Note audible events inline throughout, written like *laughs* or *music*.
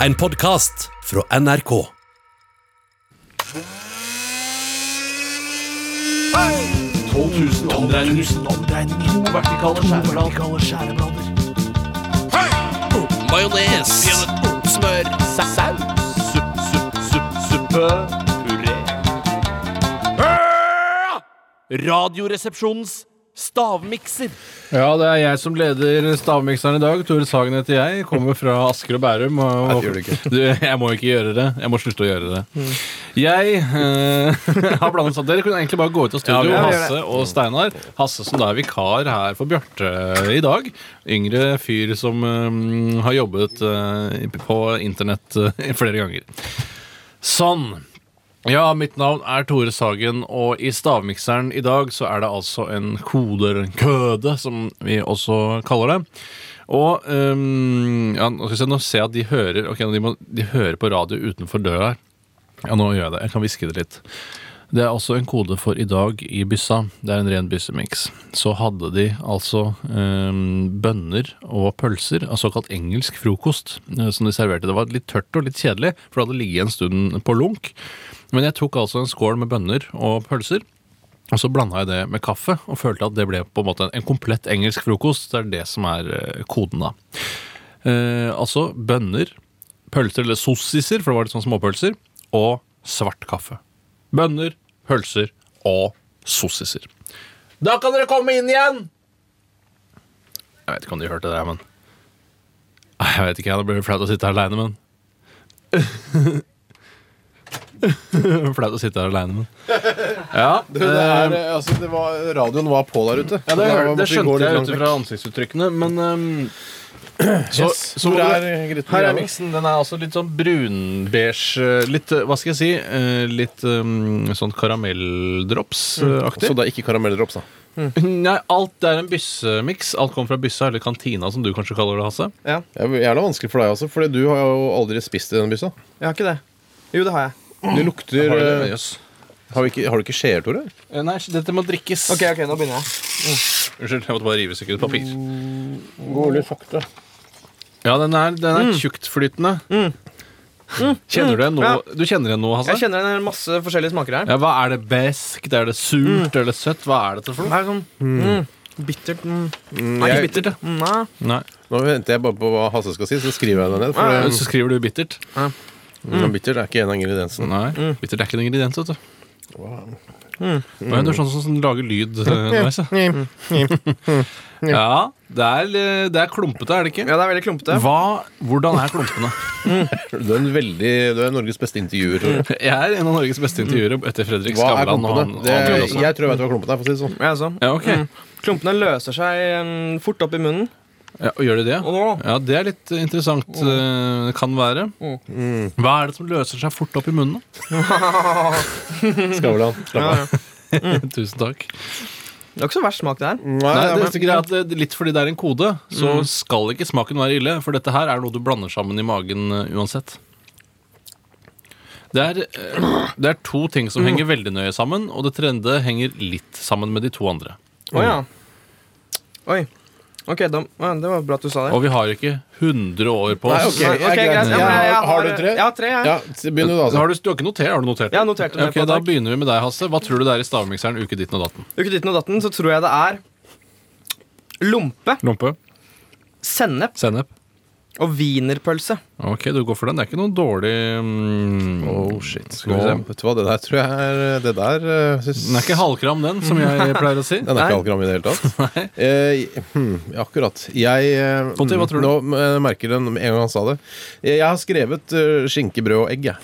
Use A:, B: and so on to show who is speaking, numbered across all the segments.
A: En podkast fra NRK. Majones. Smør.
B: Radioresepsjonens stavmikser.
C: Ja, det er jeg som leder stavmikseren i dag. Tore Sagen heter jeg. Kommer fra Asker og Bærum. Og,
D: Nei, det gjør du ikke.
C: Du, jeg må ikke gjøre det. Jeg må slutte å gjøre det. Jeg eh, *laughs* har blandet sammen Dere kunne egentlig bare gå ut av studio,
D: Ja, vi gjør
C: Hasse og Steinar. Hasse som da er vikar her for Bjarte eh, i dag. Yngre fyr som eh, har jobbet eh, på internett eh, *laughs* flere ganger. Sånn. Ja, mitt navn er Tore Sagen, og i stavmikseren i dag så er det altså en kode, eller en køde, som vi også kaller det. Og øhm, ja, nå skal vi se, nå ser jeg at de hører Ok, de, må, de hører på radio utenfor døra her. Ja, nå gjør jeg det. Jeg kan hviske det litt. Det er også en kode for i dag i byssa. Det er en ren byssemiks. Så hadde de altså øhm, bønner og pølser av såkalt engelsk frokost øh, som de serverte. Det var litt tørt og litt kjedelig, for det hadde ligget en stund på lunk. Men jeg tok altså en skål med bønner og pølser. Og så blanda jeg det med kaffe, og følte at det ble på en måte en komplett engelsk frokost. Det er det som er øh, koden, da. Eh, altså bønner, pølser eller sossiser, for det var litt sånn småpølser, og svart kaffe. Bønner, pølser og sossiser. Da kan dere komme inn igjen! Jeg vet ikke om de hørte det, men Nei, Jeg vet ikke, jeg. det blir flaut å sitte her aleine, men *laughs* Flaut å sitte her aleine, men
D: *laughs*
C: Ja,
D: Det,
C: eh,
D: er, altså, det var, radioen var på der ute.
C: ja, det,
D: Da
C: hør-
D: måtte
C: det
D: vi gå litt
C: skjønte jeg
D: langt
C: ut
D: vekk.
C: fra ansiktsuttrykkene, men ehm, *clears throat* så,
D: Yes.
C: så
D: Hvor
C: hvor
D: er eh, Gritten?
C: her er miksen. Den er altså litt sånn brunbeige eh, Litt, eh, hva skal jeg si, eh, litt um, sånn
D: Så
E: Mm.
C: karamelldrops-aktig. Mm.
D: det er ikke karamelldrops, da.
C: Nei, alt det er en byssemiks. Alt kommer fra byssa, eller kantina, som du kanskje kaller det, Hasse.
D: Det er jævla vanskelig for deg også, Fordi du har jo aldri spist i denne byssa.
F: Jeg har ikke det. Jo, det har jeg.
D: Du lukter
C: Har du
D: eh,
C: det? Jøss.
D: har, vi ikke, har du ikke skjeer, Tore?
C: Eh, Nei, dette må drikkes.
F: Ok, ok, nå begynner jeg.
C: Unnskyld, jeg måtte bare rive stykket papir.
D: Går litt sakte.
C: Ja, den er, den er tjuktflytende. Mm. Kjenner du igjen noe,
F: Ja.
C: du kjenner igjen noe, Hasse?
F: Jeg kjenner en masse forskjellige smaker her.
C: Ja, hva er det besk? Er det surt? Er det søtt? Hva er dette for
F: Det
C: noe?
F: er sånn mm, bittert mm, Nei, ikke
D: jeg-
F: bittert, det. Mm, nei.
C: Nei.
D: Nå venter jeg bare på hva Hasse skal si, så skriver jeg det ned. For
C: Men
D: det,
C: Så skriver du bittert. Mm.
D: men bitter det er ikke en av ingrediensene.
C: Nei, bittert er ikke en ingrediens, vet du.
D: Mm.
C: Nei, Du er sånn som sånn, lager lyd. eh, Nice.
F: Mm.
C: Ja, det er, eh, det er klumpete, er det ikke?
F: Ja, det er veldig klumpete.
C: Hva, hvordan er klumpene?
D: Du er en veldig Du er Norges beste intervjuer, Tore.
C: *laughs* Jeg er en av Norges beste intervjuere etter Fredrik
D: Mm. Hva er
C: Skavlan. og han-
D: klumpene?
C: og
D: Det,
C: han også.
D: jeg tror jeg vet hva klumpene er, for å si det
C: *laughs*
D: sånn.
F: Ja, altså.
C: Ja, ok.
F: Mm. Klumpene løser seg mm, fort opp i munnen.
C: Ja, og gjør de det?
F: Og nå
C: Ja, det er litt eh, interessant.
D: Mm.
C: eh, kan være. Hva er det som løser seg fort opp i munnen?
D: Skavlan. Slapp av. *laughs*
C: da? Tusen takk.
F: Det er ikke så verst smak, det
E: Mm.
D: Nei,
F: her.
C: Nei, det
D: men- Mm.
C: eneste greia er at det- Litt fordi det er en kode, så skal ikke smaken være ille. For dette her er noe du blander sammen i magen eh, uansett. Det er, eh, det er to ting som henger
D: Mm.
C: veldig nøye sammen, og det tredje henger litt sammen med de to andre.
F: Å ja. Oi. Ok, da, ja, Det var bra at du sa det.
C: Og vi har ikke 100 år på
D: Nei,
C: oss.
D: ok, jeg-
F: Ok,
D: greit.
F: greit. Ja,
D: Jeg
F: men jeg
D: har- Har du tre?
F: Ja, tre, jeg.
D: Ja, så begynn du, da. altså.
C: Har du, du har ikke notert? Har du notert?
F: Jeg har notert det ned
C: Ok,
F: på,
C: da
F: takk.
C: begynner vi med deg, Hasse. Hva tror du det er i stavmikseren uke ditten og datten?
F: Uke ditten og datten, så tror jeg det er lompe,
C: Lompe.
F: sennep
C: Sennep.
F: og wienerpølse.
C: Ok, du går for den. Det er ikke noen dårlig mm,
D: Oh shit.
C: Skal vi se.
D: Nå, Vet du hva, det der tror jeg er Det der eh, syns-
C: Den er ikke halvkram,
D: *laughs*
C: den, som jeg pleier å si.
D: Den er
F: Nei.
D: ikke halvkram i det hele tatt. Eh, hmm, akkurat. Jeg eh,
C: Ponti, hva tror du?
D: Nå eh, merker den med en gang han sa det. Jeg, jeg har skrevet eh, skinke, brød og egg, jeg.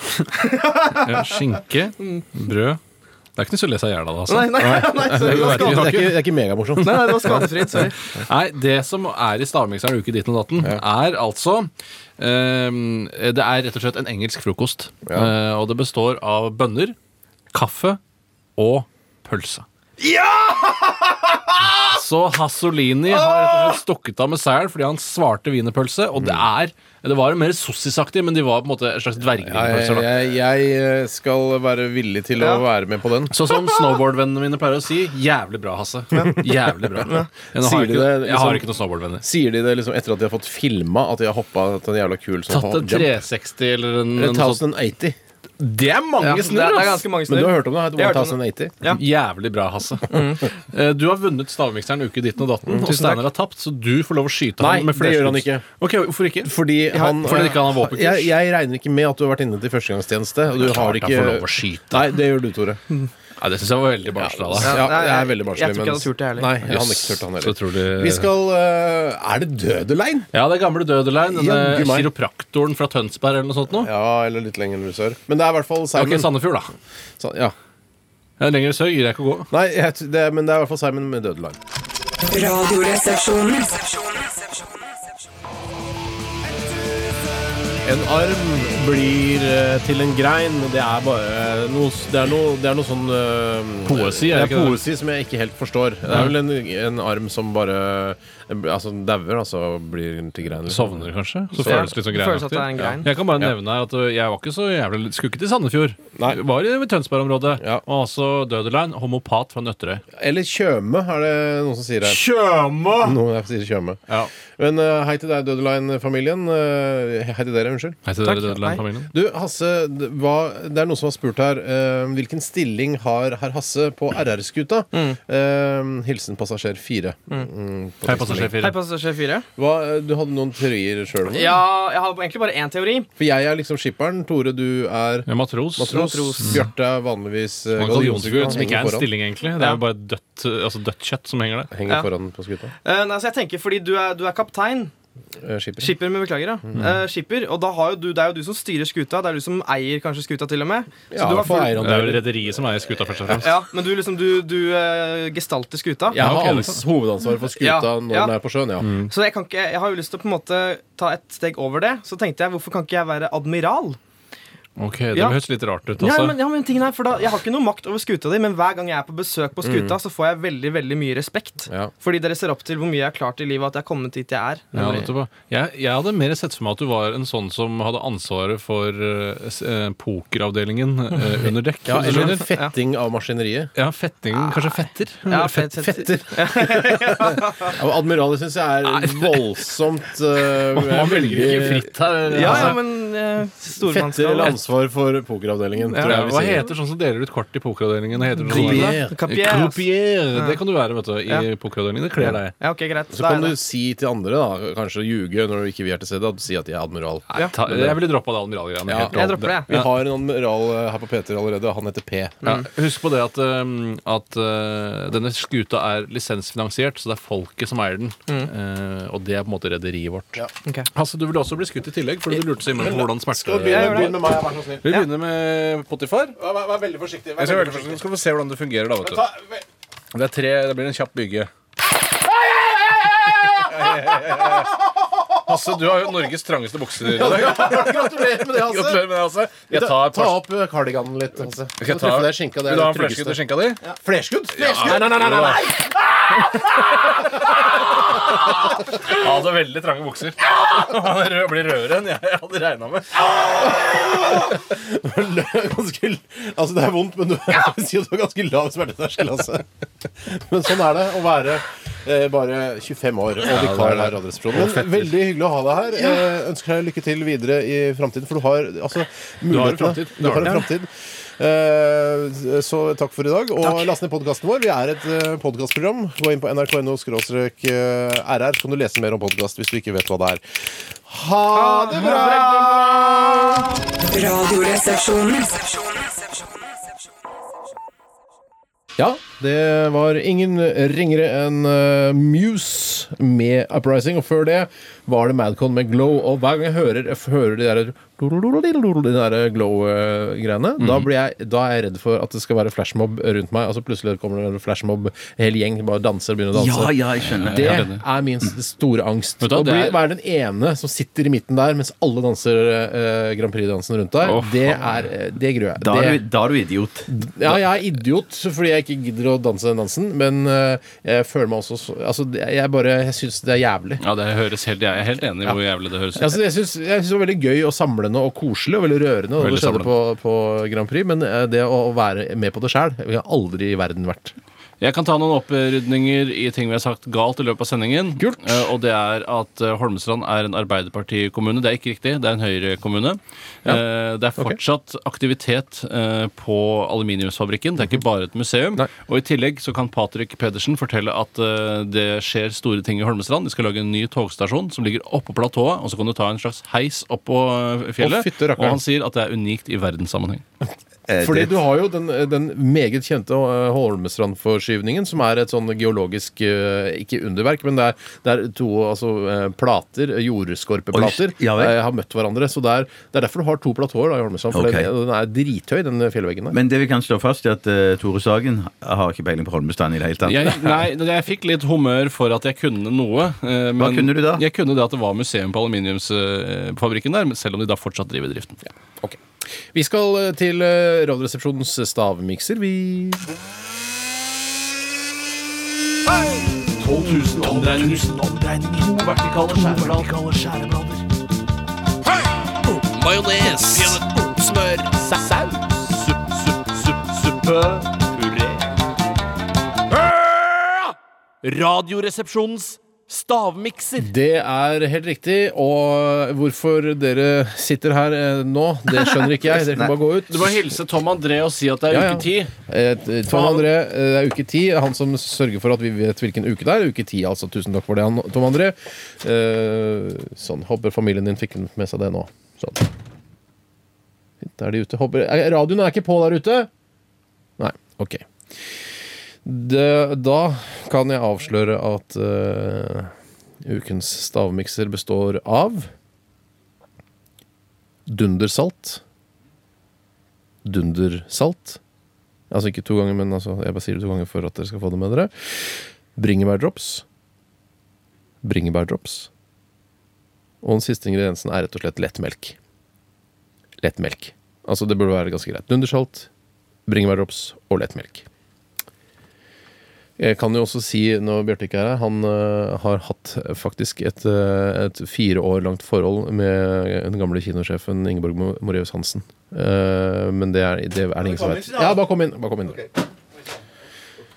C: Ja, skinke, brød Det er ikke noe å le seg i hjel av, altså.
F: Nei, nei, *laughs* nei, sorry, det var
D: Det
F: skade-
D: er ikke, det er ikke megamorsomt.
F: nei, nei, det var skadefritt.
D: *laughs*
F: Sorry.
C: Nei, det som er i stavmikseren uke ditten og datten, er altså ehm, Det er rett og slett en engelsk frokost. Eh, og det består av bønner, kaffe og pølse.
F: Ja! *laughs*
C: Så Hassolini har rett og slett stukket av med sæl fordi han svarte wienerpølse. Og det
F: Mm.
C: er Det var mer sossisaktig, men de var på en måte en slags
E: Jeg,
C: dvergwienerpølser. da.
E: jeg,
D: eh,
E: jeg skal være villig til å være med på den.
C: Så som snowboardvennene mine pleier å si jævlig bra, Hasse. Jævlig
E: *laughs*
C: bra. Jeg, har
E: Sier de
C: ikke,
E: det,
C: jeg
E: liksom?
C: har ikke noen snowboardvenner.
E: Sier de det liksom etter at de har fått filma at de har hoppa til en jævla kul sånn
C: Tatt en
E: jump?
C: 360 eller en,
E: Eller
C: en sånn
E: 1080.
C: Det er mange
F: Ja, det, er,
C: snurr,
F: det er
C: ass!
F: ganske mange
E: Men du
F: snurr.
E: har hørt om det?
F: Jeg har hørt om
E: 1080.
F: Ja.
C: Jævlig bra,
E: *laughs*
C: Hasse.
E: Mm.
C: Eh, Du har vunnet Stavmikseren uke ditten og datten, og Steinar har tapt, så du får lov å skyte
E: Nei,
C: han med
E: det gjør han
C: flerskudd.
E: ikke.
C: Ok, hvorfor ikke?
E: Fordi han,
C: fordi ikke han har våpenkurs.
E: jeg, jeg regner ikke med at du har vært inne til førstegangstjeneste. Og du har
C: Klart han får lov å
E: ikke
C: skyte.
E: Nei, det gjør du, Tore.
C: Nei, det syns jeg var veldig barnslig av deg.
E: Ja,
F: Ja,
E: jeg
F: nei,
E: er
F: jeg-
E: veldig barnslig.
F: jeg tror ikke jeg hadde turt det heller.
E: Nei, han hadde ikke turt han
C: Så
E: heller.
C: tror du-
E: Vi skal eh, Er det Dødelein?
C: Ja, det er gamle Dødelein. Denne
E: Jaggu meg.
C: kiropraktoren fra Tønsberg eller noe sånt nå.
E: Ja, eller litt lenger sør. Men det er i hvert fall
C: Ok,
E: Simon.
C: Sandefjord, da.
E: Sa- ja.
C: Ja, Lenger sør gir jeg ikke å gå.
E: Nei, jeg, t- det, men det er i hvert fall Simon med Dødelein.
G: Radioresepsjonen.
H: En arm blir eh, til en grein. Det er bare noe Det er noe, det er noe sånn eh,
C: Poesi,
E: Det
C: er
E: er
C: det ikke det?
E: poesi som jeg ikke helt forstår. Det er vel en, en arm som bare Altså dauer, altså blir til grein. liksom.
C: Sovner, kanskje. Så
F: Ja,
C: føles det litt sånn
F: det føles at det er
C: greinaktig.
F: en grein.
C: Jeg kan bare nevne her at ø, jeg var ikke så jævlig Skulle ikke til Sandefjord.
E: Nei.
C: Jeg Var i Tønsberg-området.
E: Ja.
C: Og altså Dødelein, homopat fra Nøtterøy.
E: Eller Tjøme, er det noen som sier her.
C: Tjøme!
E: Noen her sier Tjøme.
C: Ja.
E: Men eh, hei til deg, Dødeline-familien. Eh, hei til dere, unnskyld.
C: Hei til
F: Takk.
C: dere, Dødelein-familien.
E: Du, Hasse, d- hva, det er noen som har spurt her eh, Hvilken stilling har herr Hasse på RR-skuta? Eh, hilsen passasjer 4. Mm, på
C: Hei,
E: tekstmelding.
C: passasjer
F: Hei,
C: 4.
F: passasjer fire.
E: Hva, eh, du hadde noen teorier sjøl om det?
F: Ja, jeg har egentlig bare én teori.
E: For jeg er liksom skipperen. Tore, du er
C: Ja, matros.
E: matros. Bjarte er vanligvis eh,
C: Gallionsfigur,
E: gallionsfigur.
C: som ikke er en stilling, egentlig. Det er
F: Ja.
C: jo bare dødt, ø, altså dødt kjøtt som henger der.
E: Henger
F: Ja.
E: foran på skuta.
F: Eh, nei, så jeg tenker, fordi du er, du er kaptein.
E: Eh, skipper.
F: Skipper, men beklager, ja. Eh, skipper, og da har jo du, det er jo du som styrer skuta. Det er du som eier kanskje skuta, til og med. Så
E: Ja,
F: du har
E: for
F: full-
E: eieren.
C: Det er jo rederiet som eier skuta, først og fremst.
F: ja, men du liksom, du, du eh, gestalter skuta.
E: Jeg har
C: ok,
E: ans hovedansvaret for skuta
F: Ja,
E: når
F: ja.
E: den er på sjøen, ja.
C: Mm.
F: Så jeg, kan ikke, jeg har jo lyst til å på en måte ta et steg over det. Så tenkte jeg, hvorfor kan ikke jeg være admiral?
C: Ok, Det
F: Ja.
C: høres litt rart ut,
F: Ja,
C: altså.
F: men, ja, men tingen er, for da, Jeg har ikke noe makt over skuta di, men hver gang jeg er på besøk på skuta, så får jeg veldig veldig mye respekt.
E: Ja.
F: Fordi dere ser opp til hvor mye jeg har klart i livet, at jeg har kommet dit jeg er.
C: Ja,
F: Nemlig.
C: nettopp, ja. jeg, jeg hadde mer sett for meg at du var en sånn som hadde ansvaret for eh, s- eh, pokeravdelingen eh, under dekk.
E: Ja,
C: hvis du
E: eller
C: skjønner.
E: fetting av maskineriet.
C: ja, fettingen. Kanskje fetter?
F: Ja, fett, fett, fett.
E: Fetter. Ja, men Admiral, det syns jeg er voldsomt
C: *laughs*
E: eh, veldig
C: fritt her.
F: Ja, ja,
C: altså.
F: men eh,
E: Fetter altså.
F: stormannsgave.
E: eller ansvar for pokeravdelingen,
C: Tror
E: tror
C: jeg
E: jeg vi
C: Hva
E: sier.
C: heter sånn som deler ut kort i pokeravdelingen? Det heter sånn-
E: Croupier.
F: Kapier, altså. ass.
C: Croupier. Det kan du være vet du, i
F: Ja.
C: pokeravdelingen. Det kler deg.
F: Ja, ok, greit.
E: Så
F: Da er
E: kan du
F: det.
E: si til andre, da, kanskje ljuge når du ikke vi er til stede, at du sier at jeg er admiral.
F: Ja.
C: Ta, jeg ville droppa det admiralgreiene.
E: Ja,
C: helt
F: Jeg
C: og
F: dropper det.
E: Vi har en admiral eh, her på P3 allerede. Han heter P.
C: Ja, husk på det at, um, at uh, denne skuta er lisensfinansiert, så det er folket som eier den. Uh, og det er på en måte rederiet vårt.
F: Ok.
C: Hasse, du ville også bli skutt i tillegg, fordi du lurte så innmari på hvordan smerte
E: Begynn
F: gjør det.
E: begynn med meg, vær så snill.
C: Vi begynner med Potifar.
E: Vær, vær- vær veldig forsiktig.
C: Jeg skal veldig forsiktig, så skal vi se hvordan det fungerer, da, vet du. Det er tre, det blir en kjapp
E: *laughs*
C: bygge. Hasse, du har jo Norges trangeste bukser i dag.
E: Gratulerer med det, Hasse.
C: Gratulerer med det, Hasse. Jeg tar
E: Ta opp eh, kardiganen litt, Hasse.
C: Skal
E: Så
C: jeg ta-
E: treffer deg i skinka. Det
C: Vil du
E: er det
C: ha en fleskudd til
E: tryggeste.
C: skinka di?
E: Flerskudd? Flerskudd?
C: nei, nei, nei, nei!
E: *laughs*
C: Jeg hadde veldig trange bukser. *laughs* Han rød- blir rødere enn jeg hadde regna med.
E: ganske, altså det er vondt, men du *laughs* sier at du har ganske lav smerteterskel. Altså. Men sånn er det å være eh, bare 25 år og vikar her. i Radioresepsjonen. Men veldig hyggelig å ha deg her. Eh, ønsker deg lykke til videre i framtiden, for du har altså
C: har en
E: mulighetene.
C: framtid. Det
E: Du
C: har
E: har en framtid. Eh, så takk for i dag. Og last ned podkasten vår. Vi er et eh, podkastprogram. Gå inn på nrk.no rr, eh, så kan du lese mer om podkast hvis du ikke vet hva det er. Ha det bra!
G: Radioresepsjonen.
E: Ja, det var ingen ringere enn eh, Muse med Uprising. Og før det var det Madcon med Glow. Og hver gang jeg hører, jeg hører de der de der glow-greiene.
I: Mhm.
E: Da, blir jeg- da er jeg redd for at det skal være flashmob rundt meg. Altså Plutselig kommer det en flashmob, en hel gjeng bare danser og begynner å danse.
I: Ja, ja, jeg skjønner.
E: Det
I: Ja.
E: er min s- store angst.
C: Vet du hva,
E: å
C: det
E: bli,
C: er-
E: være den ene som sitter i midten der mens alle danser eh, Grand Prix-dansen rundt deg,
C: Å, faen.
E: det, er, eh, det gruer jeg.
I: Da er,
E: Det,
I: du, da er du idiot.
E: ja, jeg er idiot fordi jeg ikke gidder å danse den dansen, men eh, jeg føler meg også så Altså, det- jeg bare Jeg syns det er jævlig.
C: Ja, det høres helt, Jeg er helt enig i hvor jævlig det høres ut.
E: Altså, jeg syns jeg syns det var veldig gøy og samlende og koselig og veldig rørende, det
C: Veldig
E: som skjedde på, på Grand Prix, men eh, det å være med på det sjæl ville jeg aldri i verden vært.
C: Jeg kan ta noen opprydninger i ting vi har sagt galt i løpet av sendingen.
E: Kult.
C: Eh, Og det er at eh, Holmestrand er en Arbeiderpartikommune. Det er ikke riktig, det er en Høyre-kommune. Eh, Det er fortsatt aktivitet eh, på aluminiumsfabrikken. Det er ikke bare et museum.
E: Nei.
C: Og i tillegg så kan Patrick Pedersen fortelle at eh, det skjer store ting i Holmestrand. De skal lage en ny togstasjon som ligger oppå platået, og så kan du ta en slags heis oppå eh,
E: Å,
C: fjellet.
E: fytte rakkeren.
C: og han sier at det er unikt i verdenssammenheng.
I: Eh,
E: Fordi
I: det-
E: du har jo den, den meget kjente eh, Holmestrandforskyvningen, som er et sånn geologisk eh, Ikke underverk, men det er, det er to altså, eh, plater, eh, jordskorpeplater,
I: Oi, ja vel.
E: eh, har møtt hverandre. Så det er, det er derfor du har to platåer da, i Holmestrand. For
I: Ok.
E: den, den er drithøy, den fjellveggen der.
I: Men det vi kan slå fast, er at eh, Tore Sagen har ikke peiling på Holmestrand i det hele tatt.
C: Jeg, nei, jeg fikk litt humør for at jeg kunne noe. eh, Men
I: kunne du da?
C: Jeg kunne det at det var museum på aluminiumsfabrikken der, men selv om de da fortsatt driver driften.
E: Ok. Vi skal eh, til eh, Radioresepsjonens stavmikser. Vi
B: 12 000 omdreininger. omdreininger. To vertikale skjæreblader.
A: Majones. Smør.
B: Saus. Supp, supp, supp, suppe. Puré. Radioresepsjonens stavmikser.
E: Det er helt riktig. Og hvorfor dere sitter her eh, nå, det skjønner ikke jeg. Dere kan bare gå ut.
C: Du må hilse Tom André og si at det er
E: Ja, ja.
C: uke ti.
E: Eh, Tom André, eh, det er uke ti. Han som sørger for at vi vet hvilken uke det er. Uke ti, altså. Tusen takk for det, han, Tom André. Eh, sånn. Håper familien din fikk med seg det nå. Sånn. Fint, Da er de ute. Håper, er, radioen er ikke på der ute? Nei. OK. Det, da kan jeg avsløre at eh, ukens stavmikser består av dundersalt. Dundersalt. Altså ikke to ganger, men altså, jeg bare sier det to ganger for at dere skal få det med dere. Bringebærdrops. Bringebærdrops. Og den siste ingrediensen er rett og slett lettmelk. Lettmelk. Altså det burde være ganske greit. Dundersalt, bringebærdrops og lettmelk. Jeg kan jo også si, når Bjarte ikke er her, han øh, har hatt øh, faktisk et, øh, et fire år langt forhold med den gamle kinosjefen Ingeborg Mo- Moreus Hansen. Eh, men det er det, er det ingen som vet. Ja, bare kom inn. Bare kom inn.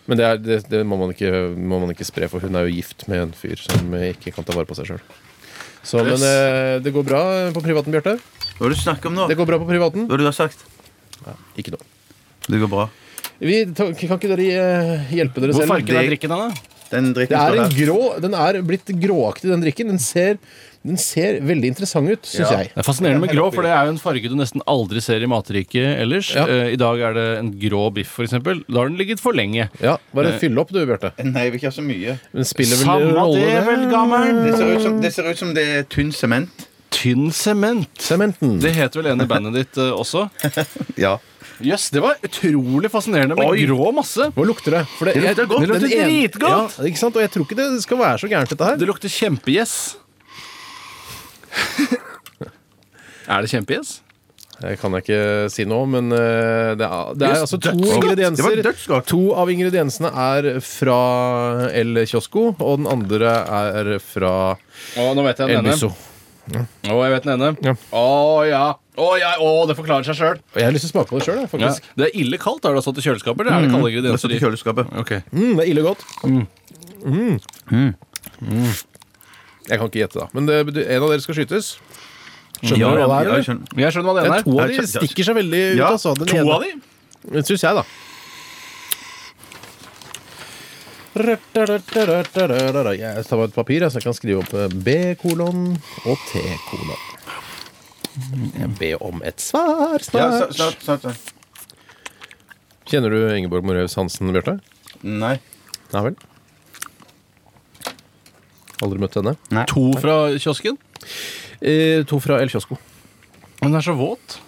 E: Men det, er, det, det må, man ikke, må man ikke spre, for hun er jo gift med en fyr som ikke kan ta vare på seg sjøl. Så, men eh, det går bra på privaten, Bjarte.
I: Hva er det du snakker om nå?
E: Det går bra på privaten.
I: Hva er det du har sagt?
E: Ikke noe.
I: Det går bra.
E: Vi, ta- kan ikke dere eh, hjelpe dere
C: Hvor
E: selv?
C: farken er
I: det-
C: drikken da?
I: Den
E: Det
I: drikken
E: er
I: står
E: en
I: her.
E: grå, den er blitt gråaktig, den drikken. Den ser, den ser veldig interessant ut, syns
I: Ja.
E: jeg.
C: Det er fascinerende med grå, for det er jo en farge du nesten aldri ser i matriket ellers.
E: Ja.
C: Eh, I dag er det en grå biff, for eksempel. Da har den ligget for lenge.
E: Ja,
I: Eh,
E: Bare fyll opp, du, Bjarte.
I: Nei, jeg vil ikke ha så mye.
E: Den spiller vel rolle, det.
C: gammel.
I: Det ser ut som det, ser ut som det er tynn sement.
C: Tynn sement.
E: Sementen.
C: Det heter vel en *laughs* i bandet ditt eh, også.
I: Ja.
C: Jøss, det var utrolig fascinerende med grå masse.
E: Hva lukter det? For
I: Det lukter godt.
E: den
C: Det lukter
E: ene-
C: dritgodt.
E: Ja, ikke sant? Og jeg tror ikke det skal være så gærent, dette her.
C: Det lukter kjempegjess. er det kjempegjess?
E: Det kan jeg ikke si nå, men eh, det er, det er
C: Yes,
E: altså to
C: dødsgodt.
I: Det var
E: ingredienser.
I: dødsgodt.
E: To av ingrediensene er fra El Kiosko, og den andre er fra
C: Å, nå vet jeg
E: El
C: den ene.
E: Bisso.
C: Å, jeg vet den ene.
E: Ja.
C: Å ja. Å, ja. Å, det forklarer seg sjøl.
E: Og jeg har lyst til å smake på det sjøl,
C: Ja.
E: faktisk.
C: Det er ille kaldt. Har det stått i kjøleskapet? eller Er det kalde
I: Det står
C: ingredienser
I: i
C: i?
I: kjøleskapet.
C: Ok.
E: Mm, det er ille godt. Mm. Jeg kan ikke gjette, da. Men det, betyr- en av dere skal skytes. Skjønner du hva det er?
I: ja,
E: eller?
I: skjønner.
C: Jeg skjønner hva det
E: Det
C: ene
E: er
C: er.
E: to av
I: Ja,
E: de stikker seg veldig ut.
I: Ja,
E: altså. Den
C: To
E: ene-
C: av de?
E: Det syns jeg, da. Jeg tar meg et papir, jeg, så jeg kan skrive opp eh, B kolon og T kolon. Jeg ber om et svar
I: Ja, så-
E: snart.
I: så- så- så-
E: Kjenner du Ingeborg Moreus Hansen, Bjarte?
I: Nei.
E: Nei vel? Aldri møtt henne?
C: To fra kiosken?
E: Eh, to fra El Kiosko.
C: Men den er så våt.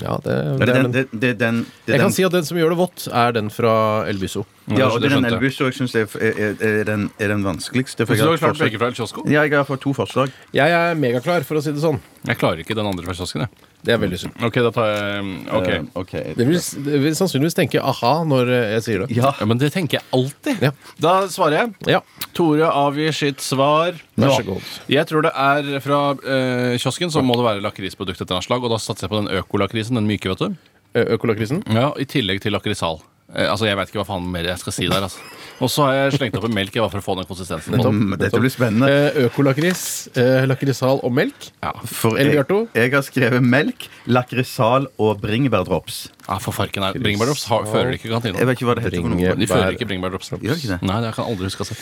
E: Ja, det,
I: Det
E: det
I: er
E: er
I: den,
E: den.
I: det, det, er den, det
E: Jeg
I: er den
E: kan si at den som gjør det vått, er den fra Elbyso.
I: Ja, og det er den
C: skjønte jeg.
I: Elvis, og jeg syns det er, er, er, den, er den vanskeligste. For
C: Hvis
I: jeg
C: du
I: har
C: har
I: et
C: klart
I: forslag-
C: begge fra El Kiosko?
I: ja, jeg har fått to forslag.
E: Jeg er megaklar, for å si det sånn.
C: Jeg klarer ikke den andre fra kiosken, jeg.
E: Det er veldig synd.
C: Ok, da tar jeg mm, Ok.
I: Eh, ok.
E: Det vil, det vil sannsynligvis tenke aha når eh, jeg sier det.
I: Ja.
C: Ja, men det tenker jeg alltid.
E: Ja.
C: Da svarer jeg.
E: Ja,
C: Tore avgir sitt svar.
E: Vær så
C: Nå.
E: god.
C: Jeg tror det er fra eh, kiosken, så må det være lakrisprodukt etter annet slag. Og da satser jeg på den økolakrisen, den myke, vet du.
E: Ø- Økolakrisene?
C: Ja, I tillegg til lakrisal. Eh, altså, Jeg vet ikke hva faen mer jeg skal si der. altså. Og så har jeg slengt opp en melk jeg var for å få den konsistensen.
I: Mm, dette blir spennende.
E: Eh, Økolakris, eh, lakrisal og melk.
C: Eh,
I: For
E: Eller
I: jeg,
E: Bjørto?
I: jeg har skrevet melk, lakrisal og bringebærdrops.
C: Ja, for farken er Bringebærdrops har- fører ikke i
I: Jeg
C: kantina.
I: vet ikke hva det heter. for noe.
E: Bringe-
C: De fører ikke bringebærdrops.
I: Gjør ikke det?
C: Nei, det jeg kan aldri huske å ha sett.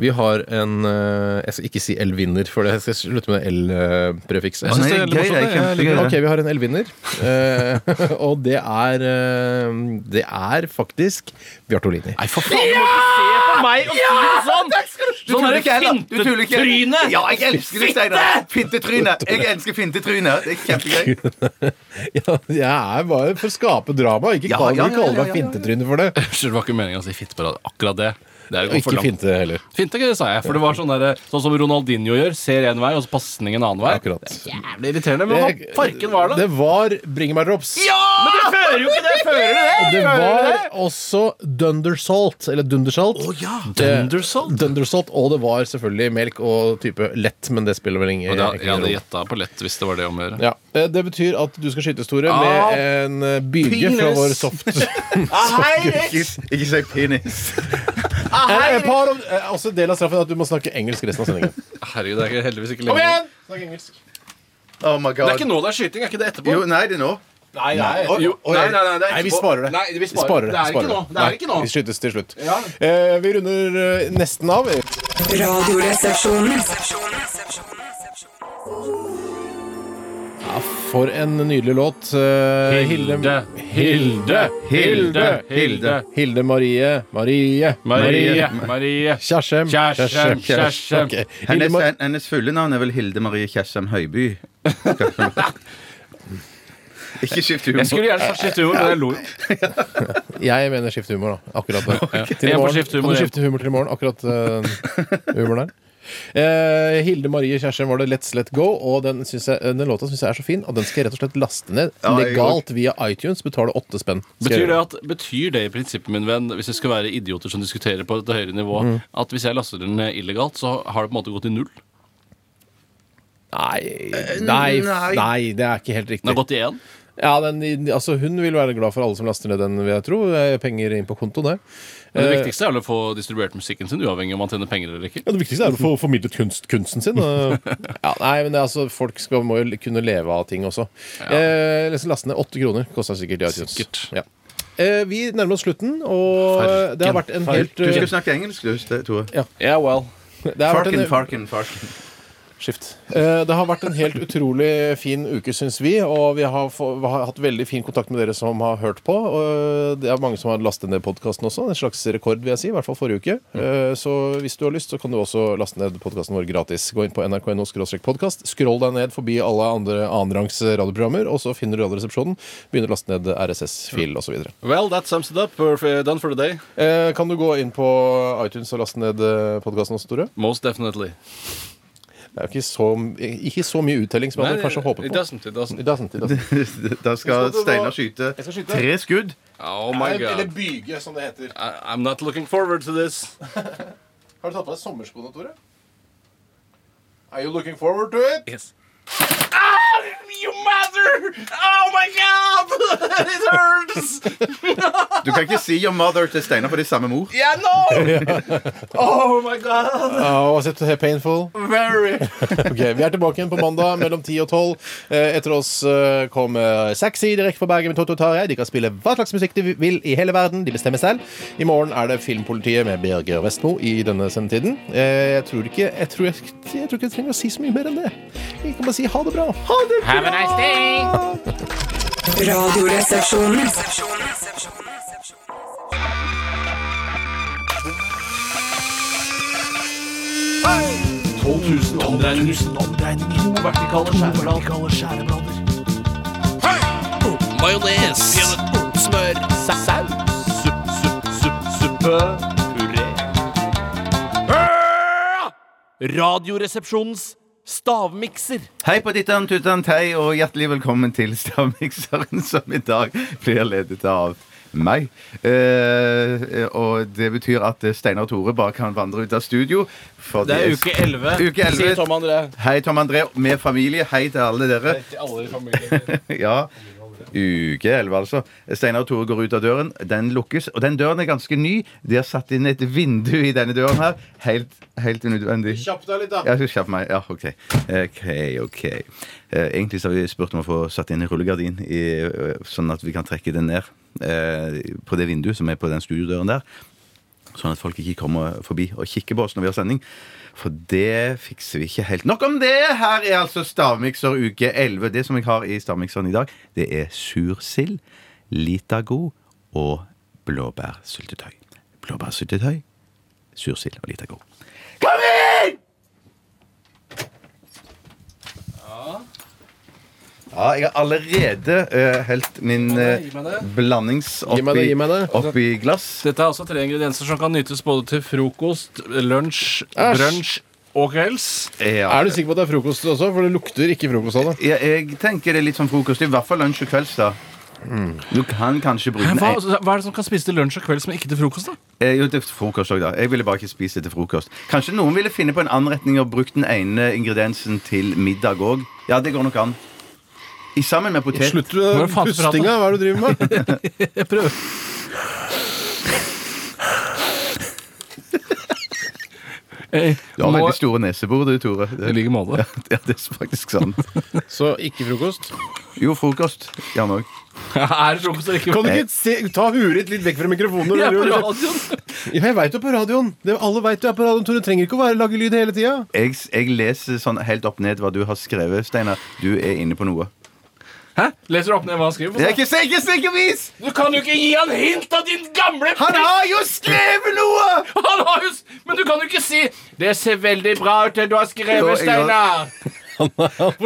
E: Vi har en eh, Jeg skal ikke si elvinner, for det jeg skal slutte med eh,
I: Ja,
E: L-prefikset.
I: nei, det
C: synes det er
I: er gøy, det er
C: morsomt, det.
I: kjempegøy.
E: Ok,
I: det.
E: vi har en elvinner. Eh, *laughs* og det er eh, Det er faktisk Bjartolini.
C: Nei, for faen, du må ikke se på meg og si det sånn! Sånn er det fintetryne!
I: Ja, jeg elsker det, Steinar! Fintetryne! Jeg elsker fintetryne. Det er
C: *laughs*
I: kjempegøy.
E: Ja, jeg er bare for å skape drama. Ikke
I: Ja,
E: kall
I: ja,
E: ikke
I: ja,
E: kalle
I: ja,
E: meg
I: ja, ja.
E: fintetryne for det.
C: Unnskyld, det var ikke meningen å si fitte på radio. Akkurat det. Det er å
E: Og
C: gå for
E: ikke
C: langt.
E: finte heller.
C: Finte ikke, det sa jeg. For det var sånn, der, sånn som Ronaldinho gjør. Ser én vei, og så pasning en annen vei.
E: Akkurat.
C: Jævlig irriterende. Men hva farken var det?
E: Det var Bring meg drops.
C: Men dere fører jo ikke det! Fører dere det?
E: Og det var også Dundersalt. Eller Dundersalt.
C: Dundersalt?
E: Dundersalt, Og det var selvfølgelig melk og type lett, men det spiller vel ingen
C: Og da,
E: ingen
C: jeg hadde
E: rolle.
C: gjetta på lett hvis det var det om å gjøre.
E: Ja. Eh, Det betyr at du skal skytes, Tore,
C: Au!
E: med en eh, bylge fra
C: Penis!
E: vår soft.
I: Ikke, ikke si penis.
D: Eh, eh, par om, eh, også en del av straffen er at du må snakke engelsk resten av sendingen.
C: Herregud, det er ikke- heldigvis ikke lenge.
D: Snakk engelsk.
I: Oh my
C: Det
I: god.
C: er ikke nå det er skyting, er ikke det etterpå?
I: Jo, nei, det er nå. oh,
D: Nei, nei.
I: Oi,
C: Jo,
I: oi,
C: nei, nei, nei, *laughs* det er
D: Nei, vi
C: etterpå.
D: sparer det.
C: Nei, vi sparer,
D: sparer
C: det. er
D: sparer
C: ikke nå. Det er ikke nå.
D: Vi skytes til slutt.
C: Ja.
D: Eh, vi runder eh, nesten av.
G: Radioresepsjonen.
E: For en nydelig låt. eh,
C: Hilde, Hilde, Hilde, Hilde.
E: Hilde Marie Marie
C: Marie, Marie.
E: Kjersem.
C: Kjersem, Kjersem.
E: Ok. Hilde
I: Hennes,
E: Ma-
I: hennes fulle navn er vel Hilde Marie Kjessem Høiby.
C: *laughs*
I: ikke skift humor.
C: Jeg skulle gjerne sagt skift humor, men jeg lo.
E: Jeg mener skift humor, da.
C: *laughs*
E: Akkurat det. Til i
C: Jeg får skifte humor,
E: morgen. kan du
C: jeg.
E: skifte humor til i morgen? Akkurat eh, humoren der. Eh, Hilde Marie Kjersheim var det Let's Let Go, og den, syns jeg, den låta syns jeg er så fin. Og den skal jeg rett og slett laste ned
I: Ja, jeg
E: legalt via iTunes. Betale åtte spenn. Skal jeg
C: Betyr det,
E: gjøre.
C: at, betyr det i prinsippet, min venn, hvis det skal være idioter som diskuterer på et høyere nivå, at hvis jeg laster den ned illegalt, så har det på en måte gått i null?
E: Nei,
I: Mm,
E: nei, nei, det er ikke helt
C: Den har
E: riktig.
C: gått i én?
E: Ja, den, altså, hun vil være glad for alle som laster ned den, vil jeg tro. Eh, Penger inn på konto, det.
C: Men det viktigste er vel å få distribuert musikken sin, uavhengig om man tjener penger eller ikke.
E: Ja, Det viktigste er å *laughs* få formidlet kunst, kunsten sin. og- Ja, nei, men det, er altså, Folk skal, må jo kunne leve av ting også. Eh, liksom laste ned åtte kroner. Kosta sikkert i iTunes.
C: Sikkert.
E: Ja. Eh, vi nærmer oss slutten, og
C: Farken.
E: det har vært en helt
I: Du skal
E: eh,
I: snakke engelsk, du, Ste- Tore. *laughs*
C: Yeah, well.
E: det har vært
I: Farken,
E: en,
I: farken, farken.
E: Skift. Eh, Det har vært en helt utrolig fin uke, syns vi. Og vi har, få, vi har hatt veldig fin kontakt med dere som har hørt på. Og eh, det er mange som har lastet ned podkasten også. En slags rekord, vil jeg si. I hvert fall forrige uke. Eh, Så hvis du har lyst, så kan du også laste ned podkasten vår gratis. Gå inn på nrk.no podkast. Skroll deg ned forbi alle andre annenrangs radioprogrammer, og så finner du Radioresepsjonen. Begynner å laste ned RSS-fil osv.
C: Well, that sums it up. We're done for the day.
E: Eh, Kan du gå inn på iTunes og laste ned podkasten også, Tore?
C: Most definitely.
E: Det er jo ikke så, ikke så mye uttelling som jeg hadde kanskje håpet
C: it
E: på.
C: doesn't, it doesn't.
E: It doesn't, it doesn't.
I: Da skal Steinar skyte
E: Jeg skal skyte.
I: tre skudd.
C: Oh my
E: Eller
C: god.
E: byge, som det heter.
C: I, I'm not looking forward to this.
E: *laughs* Har du tatt på deg sommerskoene, Tore? Are you looking forward to it?
C: Yes. Ah, you mother! Oh my god! *laughs* It hurts!
I: Du kan ikke si 'your mother' til Steinar, for de er samme mor.
C: Yeah, no! oh my god!
E: *laughs* Oh, was it painful?
C: Very.
E: Ok, Vi er tilbake igjen på mandag mellom 10 og 12. Eh, Etter oss eh, kom eh, Sexy direkte fra Bergen med Toto Tarjei. De kan spille hva slags musikk de vil i hele verden. De bestemmer selv. I morgen er det Filmpolitiet med Birger Vestmo i denne sendetiden. Eh, Jeg tror ikke jeg, tror jeg, jeg tror ikke jeg trenger å si så mye mer enn det. Vi kan bare si ha det bra. Ha det bra!
G: Radioresepsjonen.
B: Tolv 000 omdreininger. To vertikale skjæreblader.
A: Majones. Peanøttsmør.
B: Suppe. Puré. Radioresepsjonens stavmikser.
I: Hei på dittan, tuttan, tei, og hjertelig velkommen til Stavmikseren, som i dag blir ledet av meg. Eh, og det betyr at Steinar og Tore bare kan vandre ut av studio. fordi-
B: Det er uke 11,
I: Uke 11.
B: sier Tom André.
I: Hei, Tom André, med familie. Hei til alle dere. *laughs* ja. Uke 11, altså. Steinar og Tore går ut av døren. Den lukkes. Og den døren er ganske ny. De har satt inn et vindu i denne døren her. Helt, helt unødvendig.
D: Kjapp deg litt, da.
I: Ja, så kjapp meg. Ja, OK. OK, OK. Eh, Egentlig så har vi spurt om å få satt inn en rullegardin, i, eh, sånn at vi kan trekke den ned eh, på det vinduet som er på den studiodøren der. Sånn at folk ikke kommer forbi og kikker på oss når vi har sending. For det fikser vi ikke helt. Nok om det! Her er altså Stavmikser uke 11. Det som jeg har i Stavmikseren i dag, det er sursild, litago og blåbærsyltetøy. Blåbærsyltetøy, sursild og litago. Kom inn! Ja, jeg har allerede eh, helt min eh, blandings
E: Gi meg
I: oppi,
E: det, gi meg det.
I: oppi glass.
C: Dette er altså tre ingredienser som kan nytes både til frokost, lunsj, brunsj og kvelds.
I: Ja.
E: Er du sikker på at det er frokost også? For det lukter ikke frokost av det.
I: Ja, jeg tenker det er litt som frokost. I hvert fall lunsj og kvelds, da. Du kan kanskje bruke
C: Hva,
I: den
C: hva er det som kan spise til lunsj og kvelds, men ikke til frokost? da?
I: Eh, Jo, til frokost også, da. Jeg ville bare ikke spist det til frokost. Kanskje noen ville finne på en annen retning og brukt den ene ingrediensen til middag òg. Ja, det går nok an. I sammen med potet.
E: Slutt
C: Nå er
E: med
C: det faen for praten.
E: pustinga. Hva er det du driver med?
C: Jeg prøver. Hey,
I: Du har veldig store nesebor, du, Tore.
C: I like måte.
I: *laughs* Ja, det er faktisk sant.
E: Så ikke frokost.
I: Jo, frokost. Gjerne òg.
C: *laughs* Er det frokost eller ikke?
E: Kan du ikke se, ta huet ditt litt vekk fra mikrofonen?
C: Jeg er på
E: Ja,
C: radioen!
E: jeg veit du er på radioen. Det, alle veit du er på radioen. Tore trenger ikke å være, lage lyd hele tida.
I: Jeg, jeg leser sånn helt opp ned hva du har skrevet, Steinar. Du er inne på noe.
C: Hæ? Leser du opp ned hva han skriver?
I: Det er ikke sikker, sikker vis!
C: Du kan jo ikke gi han hint av din gamle
I: Han har jo skrevet noe!
C: Han har jo s- Men du kan jo ikke si 'Det ser veldig bra ut, det du har
I: Jo,
C: skrevet,
I: jeg har- *laughs*
C: Steinar'. *laughs*
I: Jeg kom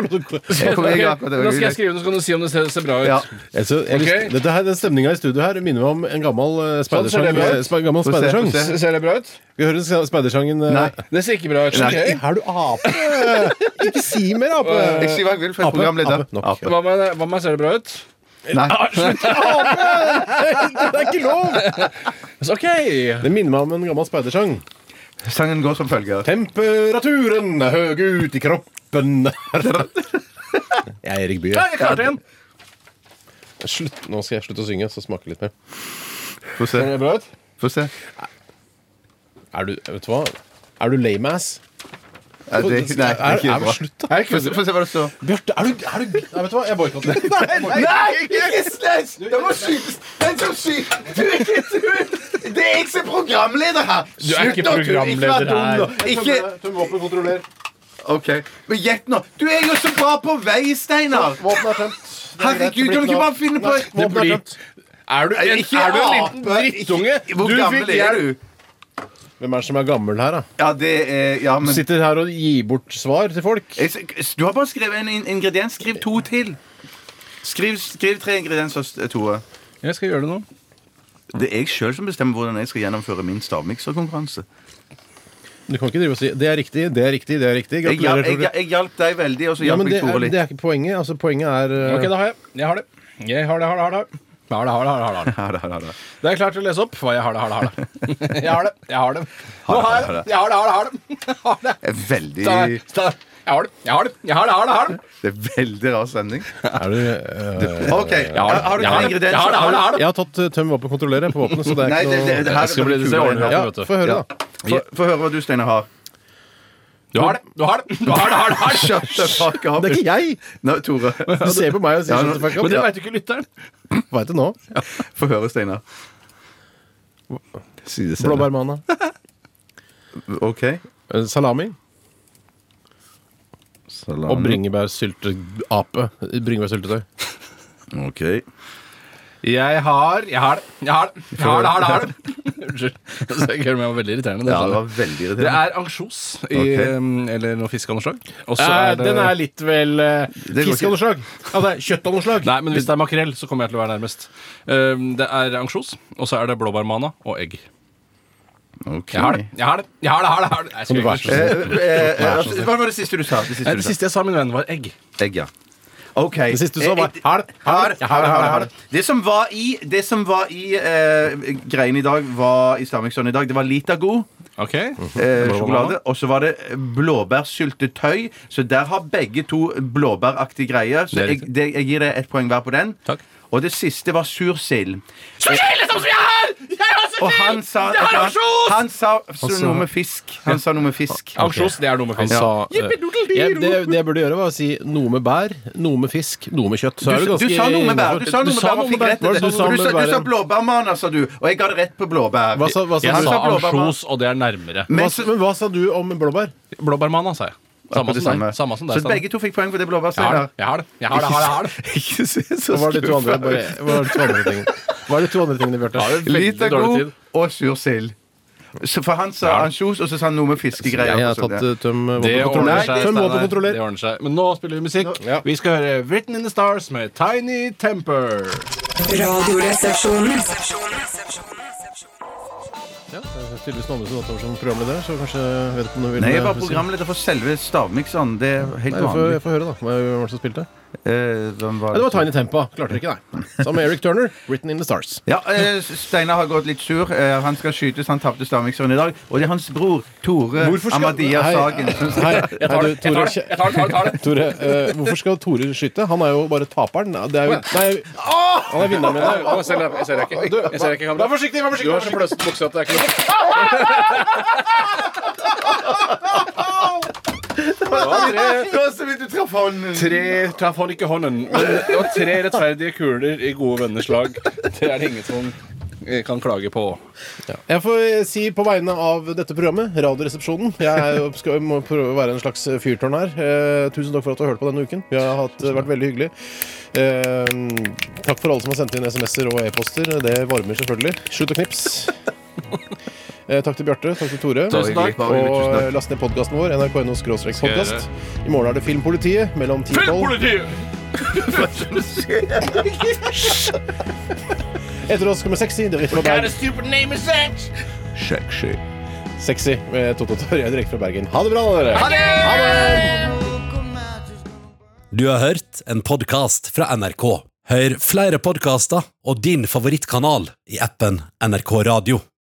I: igjen,
C: Ok,
I: akkurat det var
C: Nå skal jeg
I: greit.
C: skrive det, så kan du si om det ser, ser bra ut.
I: Ja.
E: Jeg så, jeg,
C: Ok.
E: dette her, den stemninga i studio her minner meg om en gammel eh, speidersang.
C: Sånn ser det bra ut.
E: eh, spe- gammel
I: se,
E: speidersang.
I: få se.
C: Ser det bra ut?
E: Skal vi høre spe- speidersangen? eh,
I: Nei.
C: Det ser ikke bra ut.
E: Nei,
C: Ok.
E: Er du ape? ikke si mer ape!
I: Jeg sier hva jeg vil, for jeg er
E: Ape,
I: programleder.
E: ape, nok.
I: Ape.
C: Hva med, hva med ser det bra ut?
I: Nei.
E: Det er ikke lov!
C: Så, Ok!
E: Det minner meg om en gammel speidersang.
I: Sangen går som følger.
E: Temperaturen er høg ut i kroppen Jeg er Erik Bye.
C: Ja, jeg klarte igjen.
E: Slutt. Nå skal jeg slutte å synge, så smake litt mer.
I: Få se.
E: det bra ut?
I: Få se.
E: Er du Vet du hva? Er du lame ass?
I: Nei, det, nei, det er ikke
E: Er- er
I: bra.
E: det slutt, da?
I: Nei, Få se, få se hva det står.
E: Bjarte, er du, er du Nei, vet du hva? Jeg *laughs* boikotter deg.
I: Nei, ikke sless! Det må skytes! Den som skyter Du er ikke du- Det er jeg som er programleder her!
C: Du er ikke
I: Slutt nå, Tore.
C: programleder
I: Ikke vær dum nå. Ikke
E: Tøm våpen, kontroller.
I: OK. Men gjett nå. Du er jo så bra på vei, Steinar!
E: Våpen er tømt.
I: Herregud, kan du ikke bare finne på
C: Det blir Er du en,
I: Nei, ikke
C: er du en liten
I: ape.
C: drittunge?
I: Ikke- Hvor gammel er du?
E: Hvem er det som er gammel her, da?
I: Ja, det er Ja, men
E: Sitter her og gir bort svar til folk.
I: Jeg s- Du har bare skrevet en in- ingrediens. Skriv to til. Skriv, skriv tre ingredienser, Tore.
C: Jeg skal gjøre det nå.
I: Det er jeg sjøl som bestemmer hvordan jeg skal gjennomføre min stavmikserkonkurranse.
E: Du kan ikke drive og si 'det er riktig', 'det er riktig', 'det er riktig'.
I: Jeg,
E: Gratulerer,
I: hjal- jeg,
E: Tore.
I: jeg, hjalp deg veldig, og så
E: Ja,
I: hjalp
E: men det
I: jeg
E: er,
I: Tore litt.
E: det er ikke poenget. Altså, poenget er eh,
C: Ok, da har jeg. Jeg har det. Jeg har det, har det, har det. Har det, har det, har det, har det.
I: Ha det, ha det, ha det.
C: Da er jeg klar til å lese opp hva jeg har det, har det, har det. Jeg har det, jeg har det. Nå har jeg det, jeg har det, har det, har det. Har det.
I: Det er veldig,
C: Da er jeg- da- Jeg har det, jeg har det, jeg har det, har det, har det.
I: det er veldig rar stemning.
E: Er du eh,
I: OK.
C: Jeg har
I: Har, har du tre
C: det, jeg har det,
I: ingredienser?
C: har det, har det.
E: Jeg har tatt eh, tøm våpen, kontrollere på våpenet, så det er
I: Nei,
E: ikke
I: det,
E: noe
I: det, det her
C: Jeg skal bli-
I: blir
C: det ser ordentlig ut.
E: Ja,
C: vet du.
E: få høre, da.
I: Få få høre hva du, Steinar, har.
C: Du har det, du har det, du har det, har det, har det.
I: Shut the fuck up.
E: Det er ikke jeg!
I: Nå, Tore.
E: Du ser på meg og sier
I: Ja,
E: sånn
I: nå-
E: shut the fuck
C: Men
E: up.
C: det
E: Ja,
C: vet jo ikke lytteren.
E: Vet du nå?
I: Få høre, Steinar. Si det, Steinar.
E: Blåbærmana.
I: OK.
E: Eh, Salami. Og
I: Salami.
E: bringebærsylteape. Bringebærsyltetøy.
I: OK.
C: Jeg har Jeg har det. Jeg har det. Jeg har det, jeg har det, jeg har det. Unnskyld. Så jeg gjør meg veldig irriterende.
I: Ja, det
C: Det,
I: var veldig
C: det
I: irriterende.
C: er ansjos i,
I: Ok.
C: um, eller noe fisk av noe slag. Og så
D: Eh,
C: er det
D: Den er litt vel eh,
I: går
D: fisk
I: ikke.
D: av noe slag. Altså kjøtt av noe slag.
C: Nei, men hvis det er makrell, så kommer jeg til å være nærmest. Um, det er ansjos, og så er det blåbærmana og egg.
I: Ok.
C: Jeg har det. Jeg har det. Jeg har det, jeg har det. Jeg skulle
D: Vær så
C: ikke-
D: snill.
I: Eh, eh, eh, Hva var det siste du sa? Det siste
C: Nei,
I: du
C: Eh, Det
I: sa?
C: siste jeg sa, min venn, var egg.
I: Egg, ja. Ok.
D: Det siste du sa, var
I: Eh, eh,
D: har det, har det, har det, har det, har det.
I: Det som var i, det som var i eh, greiene i dag, var i Stamikson i dag, det var Litago.
C: Ok?
I: Eh, sjokolade. Og så var det blåbærsyltetøy. Så der har begge to blåbæraktige greier. Så
C: Det er
I: jeg,
C: riktig.
I: det, jeg gir deg ett poeng hver på den.
C: Takk.
I: Og det siste var sursild. Og han sa
C: Det er ansjos!
I: Han sa så noe med fisk. Han sa noe med fisk.
C: Ansjos, det er noe med
E: Han
C: fisk.
E: sa eh, jeg, det, det jeg burde gjøre, var å si noe med bær, noe med fisk, noe med kjøtt. Så er det
I: Du,
E: ganske
I: du sa noe med bær. Du sa noe med bær og fikk rett.
E: Hva var det
I: Du,
E: du sa
I: sa-
E: med
I: du sa
E: bæren?
I: blåbærmann, sa du. Og jeg ga det rett på blåbær.
E: Hva sa- hva sa
C: Jeg
I: Han
E: du?
C: sa
I: blåbærmann.
C: ansjos, og det er nærmere.
E: Hva,
I: Men
E: s-
I: så-
E: men hva sa du om blåbær?
C: Blåbærmana, sa jeg. Samme
I: akkurat
C: som
I: det samme.
C: deg. Samme som deg,
I: Så
C: Steinar.
I: begge to fikk poeng for det blåbæret.
C: Jeg har det. Jeg har det. Jeg har det, jeg har det, jeg har det.
I: Ikke se så
E: Hva var de to andre,
I: skuffa
E: bare,
I: ut.
E: hva var de to andre tingene? Hva er de to andre tingene,
C: Veldig
E: Bjarte?
C: dårlig tid.
I: Litago og sursild. Så for han sa ansjos, og så sa han noe med fiskegreier.
E: Jeg har
I: og sånn
E: tatt
I: der.
E: eh, tøm eh,
C: Det
E: våpenkontroll.
C: ordner
E: Nei,
C: seg.
E: Tøm
C: Steinar.
E: våpenkontroller.
C: Det ordner seg. Men nå spiller vi musikk.
E: Ja.
C: Vi skal høre Written in the Stars med Tiny Temper.
G: Radioresepsjonen.
E: Ja, det er tydeligvis noen andre som har tatt over som programleder, så kanskje vet ikke om du vil
I: Nei, jeg var
E: eh, si-
I: programleder for selve stavmikseren. Det er helt
E: Nei, jeg får,
I: vanlig.
E: jeg får høre, da. Hva hvem var det som spilte?
I: Eh, hvem var
E: Nei, det var Tiny Tempa. Klarte dere ikke, nei.
I: *laughs*
E: Sammen med Eric Turner, 'Written in the Stars'.
I: Ja, eh, Steinar har gått litt sur. Eh, han skal skytes. Han tapte stavmikseren i dag. Og det er hans bror Tore
E: Hvorfor skal-
I: Amadia
E: Hei. *laughs*
I: Sagen. som skal-
E: Hei, hei du, Tore, kje-
C: Jeg tar det, jeg tar det.
E: Tore, eh, hvorfor skal Tore skyte? Han er jo bare taperen. Det er jo, nei, han er vinneren min.
C: Jeg ser det jeg ser det ikke. Jeg ser det ikke Vær forsiktig! vær forsiktig Du har så pløst bukse at det er ikke noe
I: Det var så vidt du traff hånden.
C: Tre traff han ikke hånden, men det var tre rettferdige kuler i gode venners lag. Det er det ingen som eh, kan klage på.
E: Jeg får eh, si på vegne av dette programmet, Radioresepsjonen Jeg er jo- skal, må prøve å være en slags fyrtårn her. Eh, tusen takk for at du har hørt på denne uken. Vi har hatt, vært veldig hyggelig. Eh, takk for alle som har sendt inn SMS-er og e-poster. Det varmer selvfølgelig. Slutt å knips. Eh, takk til Bjarte. Takk til Tore.
I: Tusen takk. Tusen
E: Og eh,
I: takk.
E: last ned podkasten vår, nrk.no podkast.
C: Skal
E: I morgen er det Filmpolitiet mellom 10 og 12. Etter oss kommer Sexy. Direkte fra Bergen.
I: Sexy.
E: Sexy med Toto Torje direkte fra Bergen. Ha det bra, dere. Ha det!
J: Du har hørt en podkast fra NRK. Hør flere podkaster og din favorittkanal i appen NRK Radio.